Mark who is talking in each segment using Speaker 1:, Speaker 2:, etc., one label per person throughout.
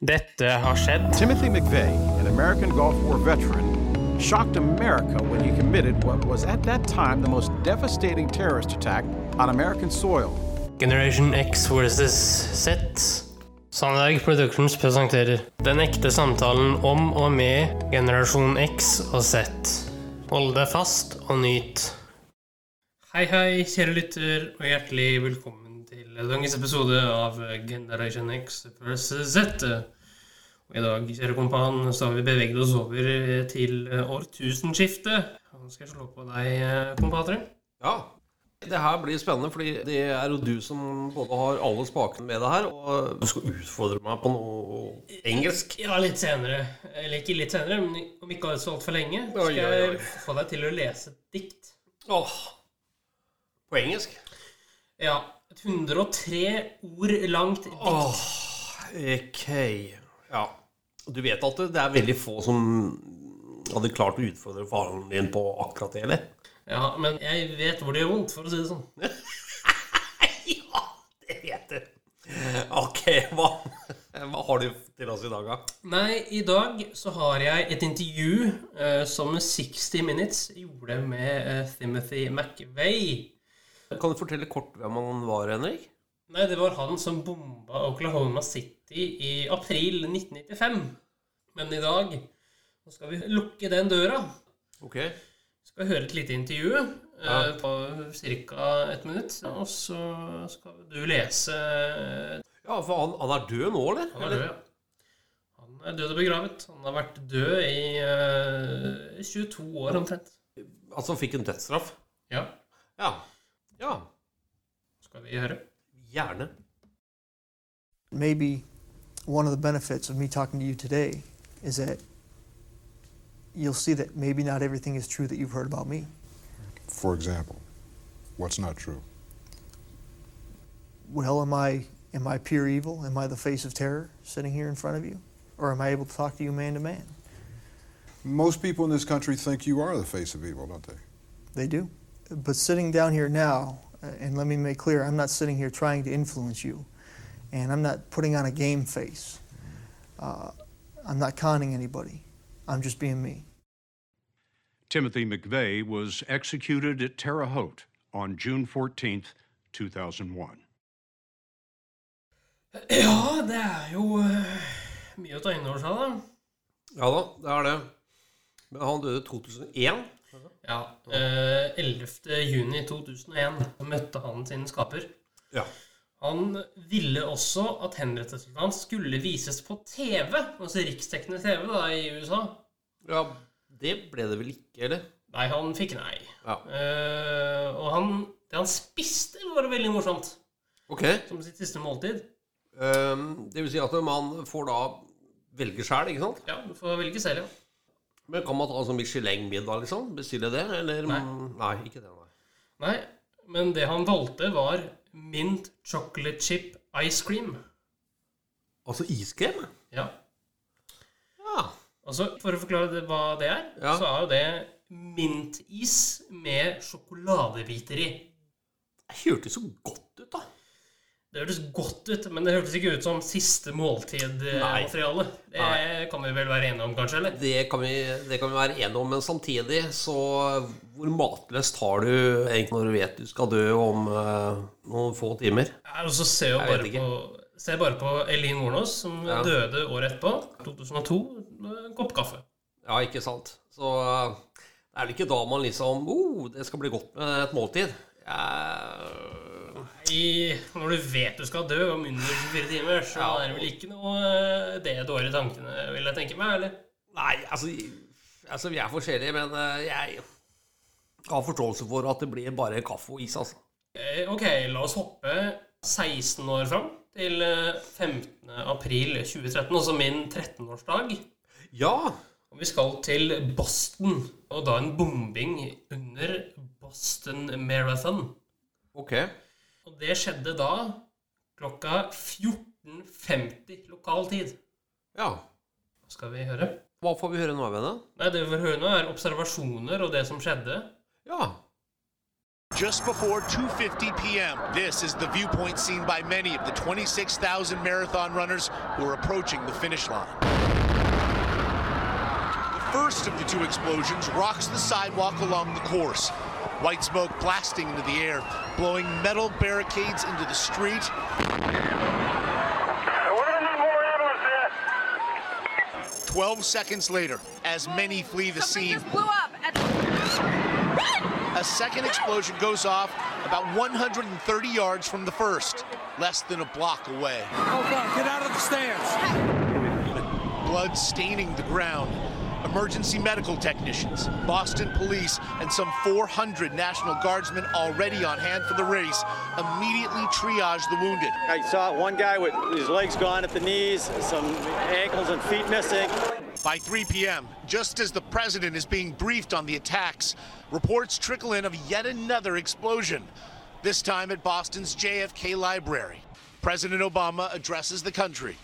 Speaker 1: Dette har skjedd.
Speaker 2: Timothy McVeigh, an American Gulf War veteran, shocked America when he committed what was at that time the most devastating terrorist attack on American soil.
Speaker 1: Generation X versus Z. Sandberg Productions presenterer Den ekte samtalen om og med generasjon X og Z. Hold deg fast og nyt. Hei, hei, kjære lytter, og hjertelig velkommen til dagens episode av Generation X versus Z. Og I dag, kjære kompan, så har vi beveget oss over til årtusenskiftet. Nå skal jeg slå på deg, eh, kompatre.
Speaker 3: Ja. Det her blir spennende, fordi det er jo du som både har alle spakene med deg her, og du skal utfordre meg på noe engelsk.
Speaker 1: Ja, litt senere. Eller ikke litt senere, men om ikke så altfor lenge.
Speaker 3: Oi,
Speaker 1: Skal
Speaker 3: oi, oi.
Speaker 1: jeg få deg til å lese et dikt.
Speaker 3: Åh. På engelsk?
Speaker 1: Ja. Et 103 ord langt dikt.
Speaker 3: Åh, ok. Ja. Du vet at det er veldig få som hadde klart å utfordre faren din på akkurat det, eller?
Speaker 1: Ja, men jeg vet hvor det gjør vondt, for å si det sånn.
Speaker 3: Ja, det vet du. Ok, hva, hva har du til oss i dag, da?
Speaker 1: Nei, i dag så har jeg et intervju eh, som 60 Minutes gjorde med eh, Timothy McVeigh.
Speaker 3: Kan du fortelle kort hvem han var, Henrik?
Speaker 1: Nei, det var han som bomba Oklahoma City i april 1995. Men i dag så skal vi lukke den døra.
Speaker 3: Ok.
Speaker 1: skal høre et lite intervju eh,
Speaker 3: Ja.
Speaker 1: på ca. ett minutt. Og så skal du lese
Speaker 3: Ja, for han, han er død nå, eller?
Speaker 1: Han er død, ja. Han er død og begravet. Han har vært død i eh, 22 år omtrent.
Speaker 3: Altså, han fikk en dødsstraff?
Speaker 1: Ja,
Speaker 3: Ja. Ja,
Speaker 1: skal vi høre.
Speaker 3: gjerne.
Speaker 4: maybe one of the benefits of me talking to you today is that you'll see that maybe not everything is true that you've heard about me.
Speaker 5: For example, what's not true?
Speaker 4: Well, am I am I pure evil? Am I the face of terror sitting here in front of you? Or am I able to talk to you man to man?
Speaker 5: Most people in this country think you are the face of evil, don't they?
Speaker 4: They do. But sitting down here now, uh, and let me make clear, I'm not sitting here trying to influence you, and I'm not putting on a game face. Uh, I'm not conning anybody. I'm just being me.
Speaker 6: Timothy McVeigh was executed at Terre Haute on June 14, 2001.
Speaker 1: Ja, det er jo eh, mye å ta inn over seg, da.
Speaker 3: Ja da, det er det. Men han døde i 2001.
Speaker 1: Ja. eh, 11. juni 2001 møtte han sin skaper.
Speaker 3: Ja.
Speaker 1: Han ville også at henrettelsen hans skulle vises på TV, altså riksdekkende TV da, i USA.
Speaker 3: ja. Det ble det vel ikke, eller?
Speaker 1: Nei, han fikk nei.
Speaker 3: Ja.
Speaker 1: Eh, og han, det han spiste, var veldig morsomt.
Speaker 3: Ok.
Speaker 1: Som sitt siste måltid.
Speaker 3: Ehm, det vil si at man får da velge sjæl, ikke sant?
Speaker 1: Ja, du får velge selv, ja.
Speaker 3: Men kan man ta sånn Michelin-middag, liksom? Bestille det, eller?
Speaker 1: Nei.
Speaker 3: Nei, ikke det, nei.
Speaker 1: Nei, men det han valgte, var mint chocolate chip ice cream.
Speaker 3: Altså iskrem?
Speaker 1: Ja.
Speaker 3: Ja.
Speaker 1: Altså, for å forklare det, hva det er,
Speaker 3: Ja.
Speaker 1: så er jo det mintis med sjokoladebiter i.
Speaker 3: Det hørtes så godt ut, da.
Speaker 1: Det hørtes godt ut, men det hørtes ikke ut som siste måltid-materiale. Det
Speaker 3: Nei.
Speaker 1: kan vi vel være enige om, kanskje? eller?
Speaker 3: Det kan, vi, det kan vi være enige om, men samtidig så Hvor matløst har du egentlig når du vet du skal dø om eh, noen få timer?
Speaker 1: Ja, og så ser jo
Speaker 3: Jeg
Speaker 1: bare
Speaker 3: vet ikke.
Speaker 1: på Se bare på Elin Hornås, som
Speaker 3: Ja.
Speaker 1: døde året etterpå. 2002. med En kopp kaffe.
Speaker 3: Ja, ikke sant? Så eh, er det ikke da man liksom oh, Det skal bli godt med et måltid. Eh,
Speaker 1: I, når du vet du skal dø om under 24 timer, så
Speaker 3: Ja.
Speaker 1: er det vel ikke noe eh, det dårlige tankene, vil jeg tenke meg? eller?
Speaker 3: nei, altså, altså Vi er forskjellige, men eh, jeg har forståelse for at det blir bare kaffe og is, altså.
Speaker 1: Eh, Ok, la oss hoppe 16 år fram til eh, 15. april 2013, altså min 13-årsdag.
Speaker 3: Ja!
Speaker 1: Og vi skal til Boston, og da en bombing under Boston Marathon.
Speaker 3: Ok.
Speaker 1: Og det skjedde da klokka 14.50 lokal tid.
Speaker 3: Ja.
Speaker 1: Skal vi høre?
Speaker 3: Hva får vi høre nå, venner?
Speaker 1: Nei, det vi får høre nå, er observasjoner og det som skjedde.
Speaker 3: Ja.
Speaker 7: Just before 2:50 p.m., this is the viewpoint seen by many of the 26,000 marathon runners who are approaching the finish line. The first of the two explosions rocks the sidewalk along the course. White smoke blasting into the air, blowing metal barricades into the street
Speaker 8: We're gonna need more ambulance there.
Speaker 7: 12 seconds later, as many flee the
Speaker 9: Something
Speaker 7: scene,
Speaker 9: just blew up at
Speaker 7: a second explosion goes off about 130 yards from the first, less than a block away. Blood staining the ground. Emergency medical technicians, Boston police, and some 400 National Guardsmen already on hand for the race immediately triage the wounded.
Speaker 10: I saw one guy with his legs gone at the knees, some ankles and feet missing.
Speaker 7: By 3 p.m., just as the president is being briefed on the attacks, reports trickle in of yet another explosion, this time at Boston's JFK Library. President Obama addresses the country,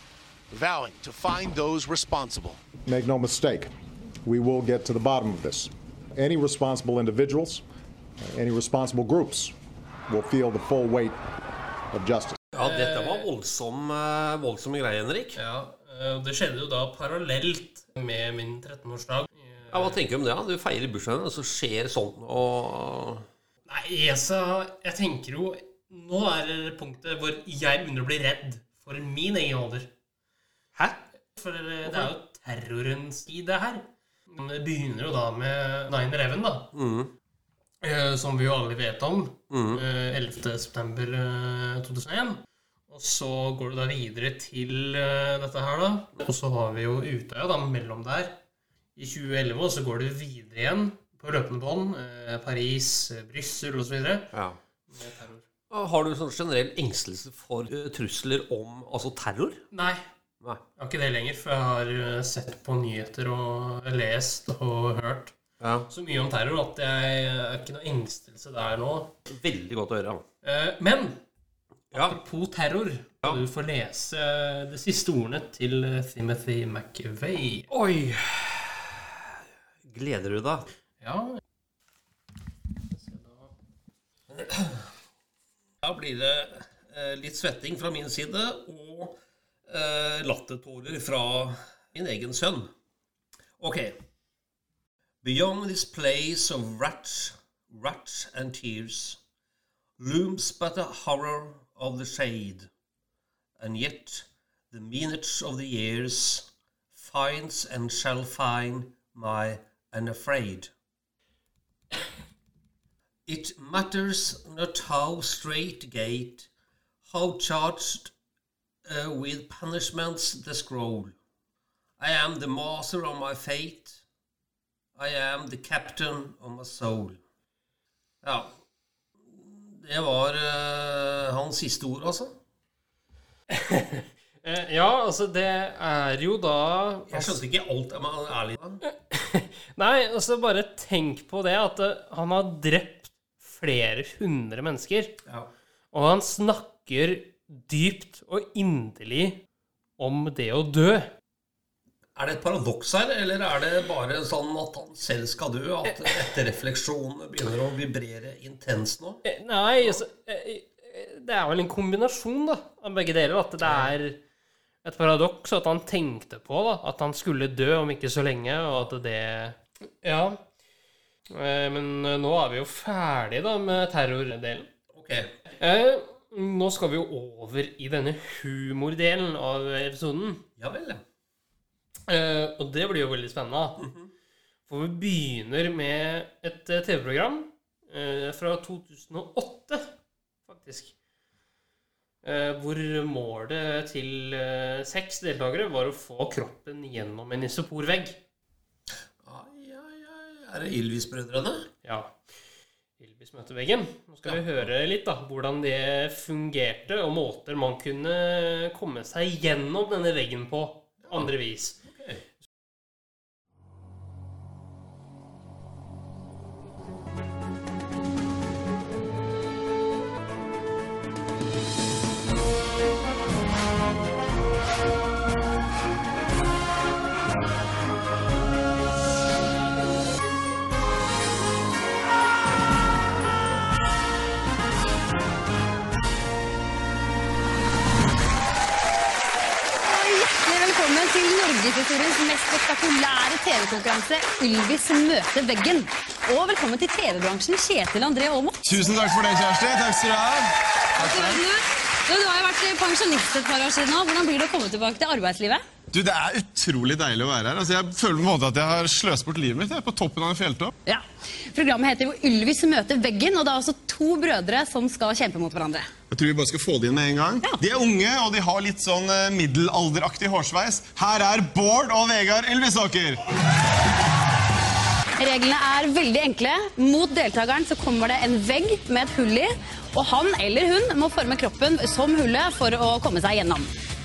Speaker 7: vowing to find those responsible.
Speaker 11: Make no mistake, we will get to the bottom of this. Any responsible individuals, any responsible groups will feel the full weight of justice.
Speaker 3: Ja, dette var voldsom, eh, voldsomme greier, Henrik. Ja,
Speaker 1: Ja, eh, og det skjedde jo da parallelt med min 13-årsdag. Eh,
Speaker 3: Hva tenker du om det? da? Du feirer bursdagen, og så skjer sånt og
Speaker 1: Nei, ESA Jeg tenker jo Nå er det punktet hvor jeg begynner å bli redd for min egen alder.
Speaker 3: Hæ?
Speaker 1: For eh, det er jo terrorens tid, det her. Men Det begynner jo da med 9-11, da. Eh, Som vi jo alle vet om. eh, 11. september eh, 2001. Og så går det da videre til eh, dette her, da. Og så har vi jo Utøya da, mellom der. I 2011 og så går det videre igjen på løpende bånd. eh, Paris, eh, Brussel osv.
Speaker 3: Ja. Har du sånn generell engstelse for eh, trusler om altså terror?
Speaker 1: Nei,
Speaker 3: Nei.
Speaker 1: jeg har ikke det lenger, for jeg har eh, sett på nyheter og lest og hørt
Speaker 3: Ja.
Speaker 1: så mye om terror at jeg jeg er ikke noe engstelse der nå.
Speaker 3: Veldig godt å høre. da.
Speaker 1: Eh, Men
Speaker 3: Ja.
Speaker 1: apropos terror,
Speaker 3: Ja.
Speaker 1: du får lese eh, de siste ordene til eh, Timothy McVeigh.
Speaker 3: Oi! Gleder du deg?
Speaker 1: Ja.
Speaker 3: Da blir det eh, litt svetting fra min side og eh, lattertårer fra min egen sønn. Ok. Beyond this place of rats, rats and tears looms but a horror of the shade. And yet the minutes of the years finds and shall find my unafraid. It matters not how straight gate, how charged uh, with punishments the scroll. I am the master of my fate. I am the captain of my soul. Ja, det var eh, hans siste ord, altså.
Speaker 1: Eh, Ja, altså, det er jo da Altså,
Speaker 3: Jeg skjønte ikke alt, om han er ærlig.
Speaker 1: Nei, altså, bare tenk på det at eh, han har drept flere hundre mennesker.
Speaker 3: Ja.
Speaker 1: Og han snakker dypt og inderlig om det å dø.
Speaker 3: Er det et paradoks her, eller er det bare sånn at han selv skal dø? At etterrefleksjonene begynner å vibrere intenst nå?
Speaker 1: Eh, Nei, altså eh, eh, Det er vel en kombinasjon da, av begge deler. At det er et paradoks at han tenkte på da, at han skulle dø om ikke så lenge, og at det Ja. Eh, Men eh, nå er vi jo ferdig da med terrordelen.
Speaker 3: Ok,
Speaker 1: Eh, Nå skal vi jo over i denne humordelen av episoden.
Speaker 3: ja vel, ja.
Speaker 1: Eh, og det blir jo veldig spennende.
Speaker 3: Mhm.
Speaker 1: For vi begynner med et eh, TV-program eh, fra 2008, faktisk. Eh, hvor målet til eh, seks deltakere var å få kroppen gjennom en isoporvegg.
Speaker 3: Ai, ai, ai. Er det Ylvis-brødrene?
Speaker 1: Ja. Ylvis møter veggen. Nå skal vi høre litt da, hvordan det fungerte, og måter man kunne komme seg gjennom denne veggen på andre vis.
Speaker 9: til norgeshistoriens mest spektakulære TV-konkurranse, Ylvis møter veggen. Og velkommen til TV-bransjen, Kjetil André Aamodt.
Speaker 12: Tusen takk for det, Kjersti. Takk skal du ha.
Speaker 9: Du, du, du har jo vært pensjonist et par år siden nå. Hvordan blir det å komme tilbake til arbeidslivet?
Speaker 12: Du, Det er utrolig deilig å være her. Altså, jeg føler på en måte at jeg har sløst bort livet mitt. Jeg er på toppen av en fjelltopp.
Speaker 9: Ja. Programmet heter jo Ylvis møter veggen, og det er altså to brødre som skal kjempe mot hverandre.
Speaker 12: Jeg tror vi bare skal få det inn med en gang. De er unge, og de har litt sånn eh, middelalderaktig hårsveis. Her er Bård og Vegard Ylvisåker.
Speaker 9: Reglene er veldig enkle. Mot deltakeren så kommer det en vegg med et hull i, og han eller hun må forme kroppen som hullet for å komme seg gjennom.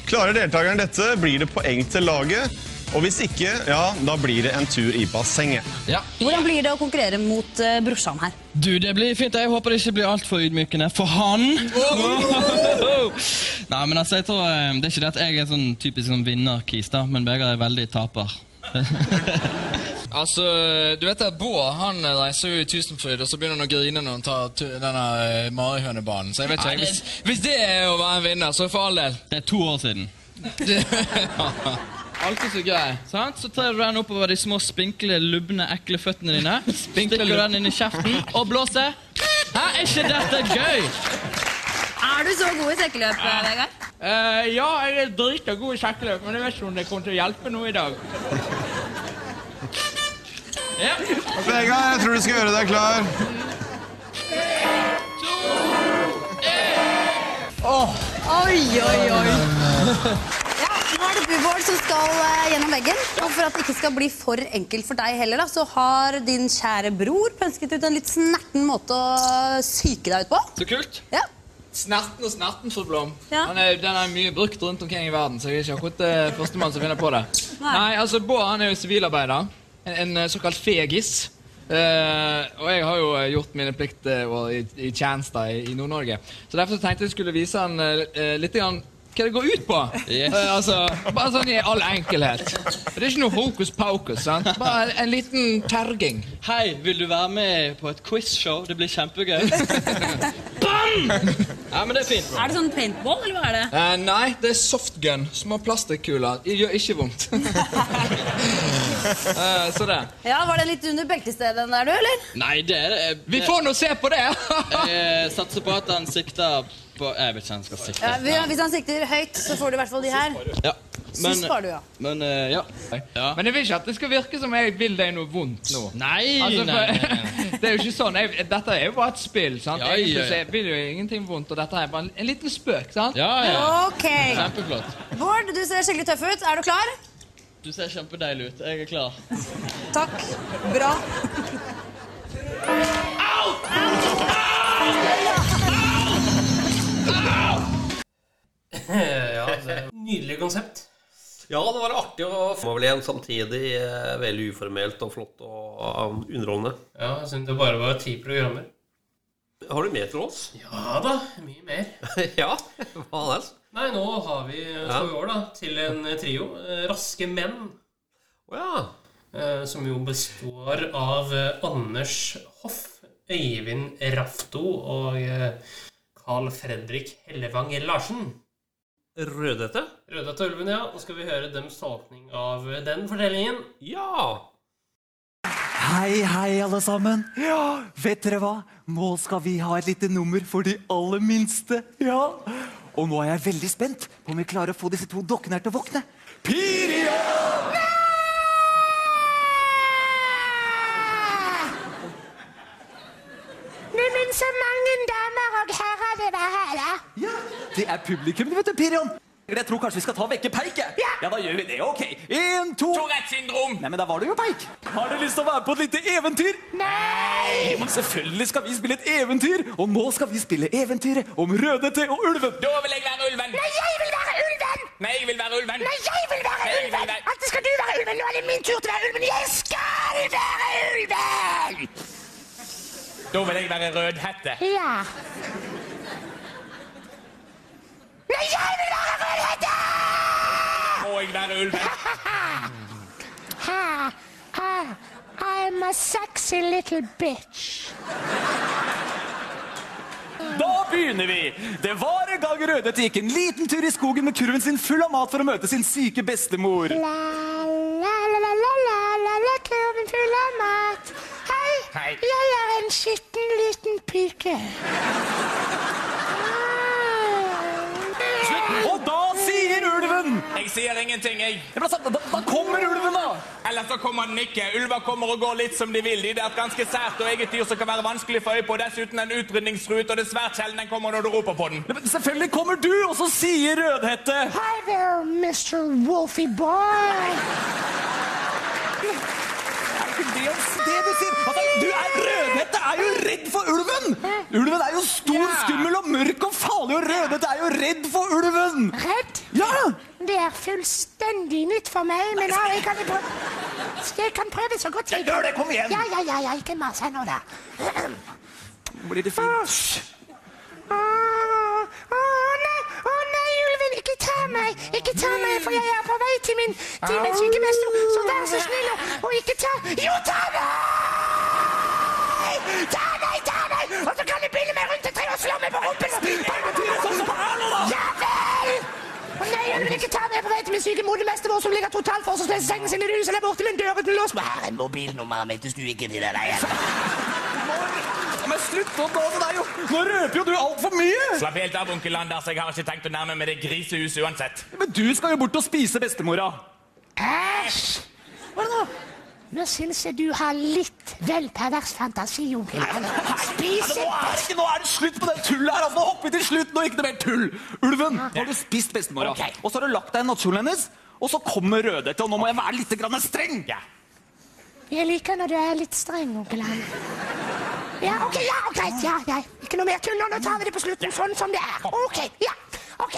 Speaker 12: Klarer deltakeren dette, blir det poeng til laget. Og hvis ikke, ja, da blir det en tur i bassenget.
Speaker 9: Hvordan blir det å konkurrere mot eh, brorsan her?
Speaker 5: Du, det blir fint. Jeg håper det ikke blir altfor ydmykende for han. Nei, men altså, jeg tror eh, Det er ikke det at jeg er sånn typisk sånn vinner-kis, da, men Vegard er veldig taper.
Speaker 2: Altså, du vet at Båa han reiser jo i Tusenfryd, og så begynner han å grine når han tar tu- denne eh, marihønebanen. Så jeg vet ikke,
Speaker 5: Nei, det-
Speaker 2: hvis, hvis det er å være en vinner, så for all del. Det er to år siden.
Speaker 5: Alltid så grei. Sant? Så trer du den oppover de små spinkle, lubne, ekle føttene dine. Stikker
Speaker 2: lub-
Speaker 5: den inn i kjeften og blåser. Hæ, er ikke dette gøy?
Speaker 9: Er du så god i sekkeløp, Vegard?
Speaker 5: Eh, ja, jeg er drita god i sekkeløp, men jeg vet ikke om det kommer til å hjelpe noe i dag. Ja.
Speaker 12: Vegard, jeg tror du skal gjøre deg klar.
Speaker 9: Oi, oi, oi. Ja, nå er det Bubård som skal eh, gjennom veggen. Og for at det ikke skal bli for enkelt for deg heller, da, så har din kjære bror pønsket ut en litt snerten måte å psyke deg ut på.
Speaker 2: Så kult.
Speaker 9: Ja.
Speaker 2: Snerten og snerten, fru Blom. Han er, den er mye brukt rundt omkring i verden, så jeg er ikke akkurat eh, førstemann som finner på det.
Speaker 5: Nei.
Speaker 2: Nei, altså, Båa han er jo sivilarbeider. En, en eh, såkalt fegis. Eh, og jeg har jo eh, gjort mine plikter og i, i tjeneste i, i Nord-Norge. Så derfor så tenkte jeg skulle vise han eh, eh, litt grann hva det går ut på.
Speaker 5: Yes.
Speaker 2: Eh, altså, bare sånn i all enkelhet. Det er ikke noe hokus pokus. sant? Bare en liten terging.
Speaker 5: Hei, vil du være med på et quizshow? Det blir kjempegøy. Bam! Ja, men det er fint.
Speaker 9: Er det sånn paintball, eller hva er det?
Speaker 2: Eh, nei, det er softgun. Små plastikkuler. Det gjør ikke vondt. Eh, så det.
Speaker 9: Ja, Var det litt under beltestedet den der, du, eller?
Speaker 5: Nei, det er det.
Speaker 2: Vi får nå se på det!
Speaker 5: jeg satser på at han sikter på Jeg vet ikke han skal sikte.
Speaker 9: Ja, vi- hvis han sikter høyt, så får du i hvert fall de her.
Speaker 5: Ja.
Speaker 9: Så sparer du, ja.
Speaker 5: Men eh, ja.
Speaker 2: Men jeg vil ikke at det skal virke som jeg vil deg noe vondt nå.
Speaker 5: Nei,
Speaker 2: Altså,
Speaker 5: nei,
Speaker 2: for- det er jo ikke sånn. Jeg, dette er jo bare et spill. sant?
Speaker 5: Ja, ja, ja.
Speaker 2: Egentlig så jeg vil jo ingenting vondt, og dette er bare en, en liten spøk. sant?
Speaker 5: Ah, Ja,
Speaker 9: ja. Ok.
Speaker 5: Kjempeflott.
Speaker 9: Bård, du ser skikkelig tøff ut. Er du klar?
Speaker 5: Du ser kjempedeilig ut. Jeg er klar.
Speaker 9: Takk. Bra.
Speaker 3: ja, det- Nydelig konsept. Ja, det var artig å få vel igjen samtidig. eh, Veldig uformelt og flott og um, underholdende.
Speaker 1: Ja, jeg synes det bare var ti programmer.
Speaker 3: Har du mer til oss?
Speaker 1: Ja Ah, da, mye mer.
Speaker 3: ja, hva annet?
Speaker 1: Nei, nå har vi eh,
Speaker 3: Ja.
Speaker 1: så i år da, til en eh, trio. eh, Raske menn.
Speaker 3: Å ja.
Speaker 1: Eh, Som jo består av eh, Anders Hoff, Øyvind Rafto og eh, Carl Fredrik Hellevang Larsen.
Speaker 3: Rødhette?
Speaker 1: Rødhette og ulven, ja. Nå skal vi høre deres tolkning av eh, den fortellingen.
Speaker 3: Ja!
Speaker 4: Hei, hei, alle sammen. Ja, Vet dere hva? Nå skal vi ha et lite nummer for de aller minste. Ja. Og nå er jeg veldig spent på om vi klarer å få disse to dokkene her til å våkne. Piria!
Speaker 7: Neimen, så mange damer og herrer det var her, da.
Speaker 4: Ja, Det er publikum, vet du, Pirion. Jeg tror kanskje vi skal ta vekke Peik. jeg. Ja, da gjør vi det. Ok. En, to Tourettes syndrom. Nei, men da var det jo Peik. Har du lyst til å være med på et lite eventyr? Nei! Men selvfølgelig skal vi spille et eventyr. Og nå skal vi spille eventyret om Rødhette og ulven.
Speaker 13: Da vil jeg være ulven.
Speaker 7: Nei, jeg vil være ulven!
Speaker 13: Nei, jeg vil være ulven.
Speaker 7: Nei, jeg vil være
Speaker 13: Nei, jeg vil
Speaker 7: ulven! Alltid skal du være ulven. Nå er det min tur til å være ulven. Jeg skal være ulven!
Speaker 13: Da vil jeg være rødhette.
Speaker 7: Ja. Nei, jeg vil være rødhette!
Speaker 13: Må jeg være ulven?
Speaker 7: Ha, ha. I'm a sexy little bitch.
Speaker 12: Da begynner vi! Det var en gang Rødhette gikk en liten tur i skogen med kurven sin full av mat for å møte sin syke bestemor.
Speaker 9: La-la-la-la-la-la, kurven full av mat. Hei,
Speaker 7: Hei.
Speaker 9: jeg er en skitten liten pike.
Speaker 12: Og da sier ulven!
Speaker 7: Jeg sier ingenting, jeg.
Speaker 12: da, kommer ulven, da!
Speaker 7: Eller så kommer den ikke. Ulver kommer og går litt som de vil. De er et ganske sært og eget dyr som kan være vanskelig for øye på. Dessuten en utrydningsfruet, og det er svært sjelden den kommer når du roper på den.
Speaker 12: Men selvfølgelig kommer du, og så sier Rødhette
Speaker 9: Hi there, Mr. Wolfie boy.
Speaker 12: Det er det du sier! Altså, du er Rødhette er jo redd for ulven! Ulven er jo stor, skummel og mørk og farlig, og Rødhette er jo redd for ulven!
Speaker 9: Redd?
Speaker 12: Ja!
Speaker 9: Det er fullstendig nytt for meg, men ja, jeg kan jo prøve. Jeg kan prøve så godt jeg
Speaker 12: Ja, gjør det, kom igjen.
Speaker 9: Ja, ja, ja, ja, ikke mas her nå, da.
Speaker 12: Blir det fint?
Speaker 9: Å å nei, å nei, ulven, ikke ta meg! Ikke ta meg, for jeg er på vei til min, til min sykemester, så vær så snill og- og ikke ta Jo, ta meg! Ta meg, ta meg! Og så kan du binde meg rundt et tre og slå meg på rumpen! Ja vel! Å nei, ulven, ikke ta meg! Jeg er på vei til min syke modermester vår som ligger totalt forsvarsløs i sengen sin i huset der borte med en dør uten lås. Her er mobilnummeret mitt hvis du ikke vil det deg.
Speaker 12: Ja, Men slutt nå, da! Det er jo, nå røper jo du altfor mye!
Speaker 7: Slapp helt av, onkel Anders. Jeg har ikke tenkt å nærme meg det grisehuset uansett.
Speaker 12: Men du skal jo bort og spise bestemora.
Speaker 9: Æsj! Hva da? Nå syns jeg du har litt vel pervers fantasi, onkel.
Speaker 12: Nå er,
Speaker 9: Spis
Speaker 12: det ikke, nå er det slutt på det tullet her! Altså, nå hopper vi til slutt! Nå er det ikke noe mer tull! Ulven, nå har du spist bestemora, og så har du lagt deg i nattkjolen hennes, og så kommer Rødhette, og nå må jeg være litt grann streng!
Speaker 9: Jeg liker når du er litt streng, onkel Ann. Ja, ok, ja, ok, ja, ja. Ikke noe mer tull nå. Nå tar vi det på slutten sånn som det er. Ok, ja. Ok.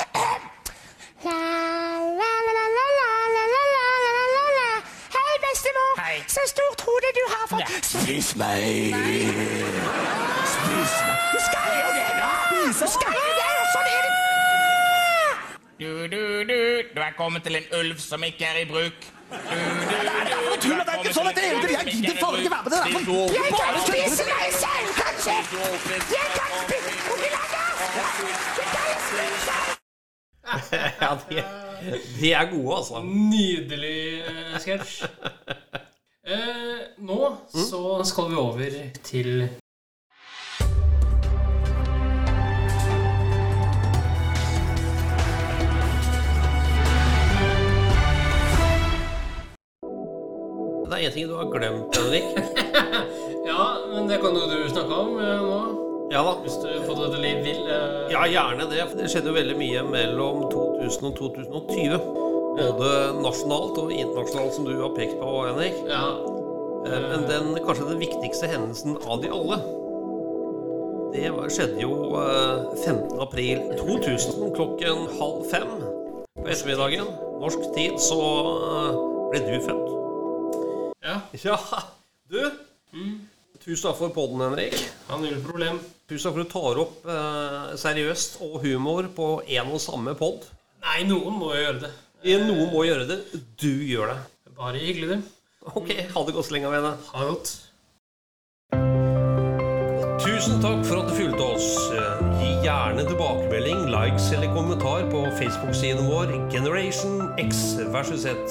Speaker 9: La, la, la, la, la, la, la, la, la, la, la, la. Hei, bestemor. Hei. Så stort hode du har fått. Spis meg! Spis meg! Du skal jo det, da! Du skal jo det, og sånn er det.
Speaker 7: Du, du, du. Du er kommet til en ulv som ikke er i bruk. Du, du, du.
Speaker 12: noe tull, det er ikke sånn at det er eventyr. Jeg gidder faen ikke være med det der, for-
Speaker 9: Jeg kan
Speaker 12: Bare kødder.
Speaker 9: spise meg selv, kanskje! Jeg kan spise Onkel Anders! Du kan jo spise!
Speaker 3: ja, de, de er gode, altså.
Speaker 1: Nydelig eh, sketsj. Eh, nå
Speaker 3: Mm.
Speaker 1: så skal vi over til
Speaker 3: Det er én ting du har glemt, Henrik.
Speaker 1: Ja, men det kan jo du snakke om eh, nå.
Speaker 3: Ja da.
Speaker 1: Hvis du på dette liv vil. eh,
Speaker 3: Ja, gjerne det. for Det skjedde jo veldig mye mellom 2000 og 2020. Både nasjonalt og internasjonalt, som du har pekt på, Henrik. Eh, Men den, kanskje den viktigste hendelsen av de alle, det var, skjedde jo eh, 15. april 2000 klokken halv fem på ettermiddagen. Norsk tid så eh, ble du født.
Speaker 1: Ja.
Speaker 3: Du, tusen takk for podden, Henrik.
Speaker 1: Ja, null problem.
Speaker 3: Tusen takk for at du tar opp eh, seriøst og humor på en og samme pod.
Speaker 1: Nei, noen må jo gjøre det.
Speaker 3: Noen må gjøre det. Du gjør det.
Speaker 1: Bare hyggelig, du.
Speaker 3: Ok, ha det godt så lenge, venner.
Speaker 1: Ha det godt.
Speaker 3: Tusen takk for at du fulgte oss. Gi gjerne tilbakemelding, likes eller kommentar på Facebook-siden vår Generation X versus Z.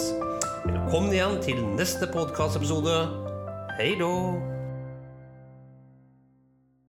Speaker 3: Velkommen igjen til neste podkastepisode. Hei då!